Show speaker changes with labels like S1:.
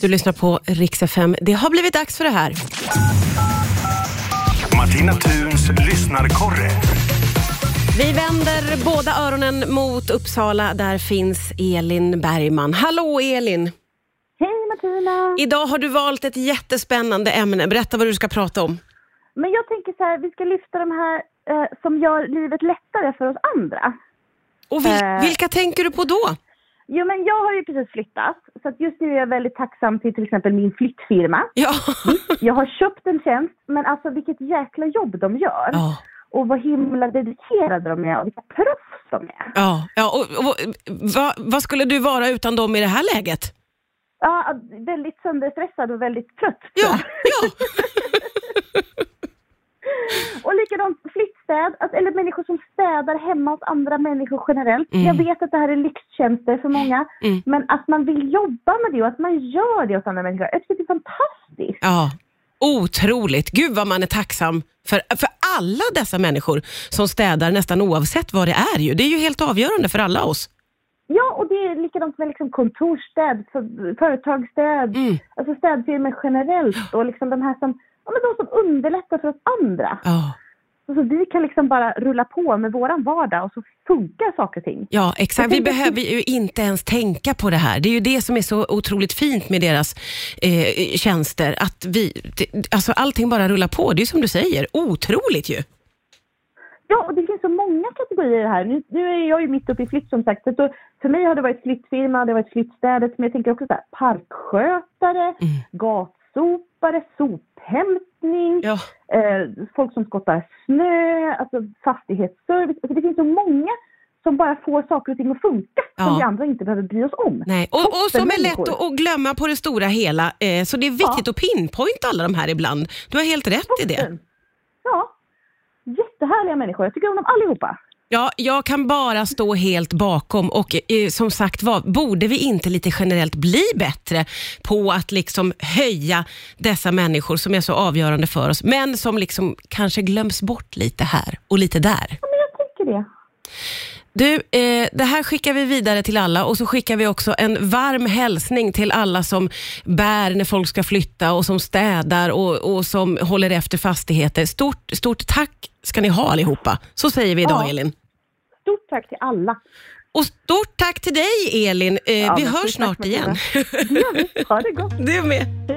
S1: Du lyssnar på Rix FM. Det har blivit dags för det här.
S2: Martina Thuns lyssnarkorre.
S1: Vi vänder båda öronen mot Uppsala. Där finns Elin Bergman. Hallå Elin!
S3: Hej Martina!
S1: Idag har du valt ett jättespännande ämne. Berätta vad du ska prata om.
S3: Men jag tänker så här, vi ska lyfta de här eh, som gör livet lättare för oss andra.
S1: Och vil-
S3: Eh.
S1: vilka tänker du på då?
S3: Jo men jag har ju precis flyttat, så att just nu är jag väldigt tacksam till till exempel min flyttfirma.
S1: Ja.
S3: Jag har köpt en tjänst, men alltså vilket jäkla jobb de gör.
S1: Ja,
S3: Och vad himla dedikerade de är och vilka proffs de är.
S1: ja, ja. Och, och, vad- vad skulle du vara utan dem i det här läget?
S3: Ja, väldigt sönderstressad och väldigt trött.
S1: Ja, ja.
S3: Och likadant flyttstäd, alltså, eller människor som städar hemma åt andra människor generellt. Jag vet att det här är lyxtjänster för många,
S1: Mm.
S3: men att man vill jobba med det och att man gör det åt andra människor, jag tycker det är fantastiskt.
S1: ja. Otroligt. Gud vad man är tacksam för, för alla dessa människor som städar nästan oavsett vad det är. Ju. Det är ju helt avgörande för alla oss.
S3: Ja, och det är likadant med liksom kontorsstäd, för, företagsstäd,
S1: Mm.
S3: alltså städfirmor generellt och liksom de här som, ja, men de som underlättar för oss andra.
S1: Ja.
S3: Alltså, vi kan liksom bara rulla på med våran vardag och så funkar saker och ting.
S1: Ja, exakt. Vi
S3: Jag tänker-
S1: behöver ju inte ens tänka på det här. Det är ju det som är så otroligt fint med deras eh, tjänster. Att vi, det, alltså allting bara rullar på. Det är ju som du säger, otroligt ju.
S3: Ja, och det finns så många kategorier här. Nu, nu är jag ju mitt uppe i flytt som sagt. Så att då, för mig har det varit flyttfirma, det har varit flyttstädet, men jag tänker också så här, parkskötare,
S1: Mm.
S3: gatsopare, sophämtning,
S1: Ja.
S3: eh, folk som skottar snö, alltså fastighetsservice. Alltså, det finns så många som bara får saker och ting att funka
S1: Ja.
S3: som vi andra inte behöver bry oss om.
S1: Nej. Och, och som är lätt
S3: Toppenmänniskor.
S1: att, att glömma på det stora hela. Eh, så det är viktigt att pinpointa alla de här ibland. Du har helt rätt i det.
S3: Toppen. Ja. Jättehärliga människor. Jag tycker om dem allihopa.
S1: Ja, jag kan bara stå helt bakom och eh, som sagt var, borde vi inte lite generellt bli bättre på att liksom höja dessa människor som är så avgörande för oss, men som liksom kanske glöms bort lite här och lite där.
S3: Ja, men jag tycker det.
S1: Du, eh, det här skickar vi vidare till alla och så skickar vi också en varm hälsning till alla som bär när folk ska flytta och som städar och, och som håller efter fastigheter. Stort, stort tack ska ni ha allihopa. Så säger vi idag
S3: Ja.
S1: Elin.
S3: Stort tack till alla.
S1: Och stort tack till dig Elin. Eh,
S3: Ja,
S1: vi
S3: men
S1: hörs
S3: stort tack,
S1: snart igen.
S3: Martina. Det gör vi. Ha det gott.
S1: Du med.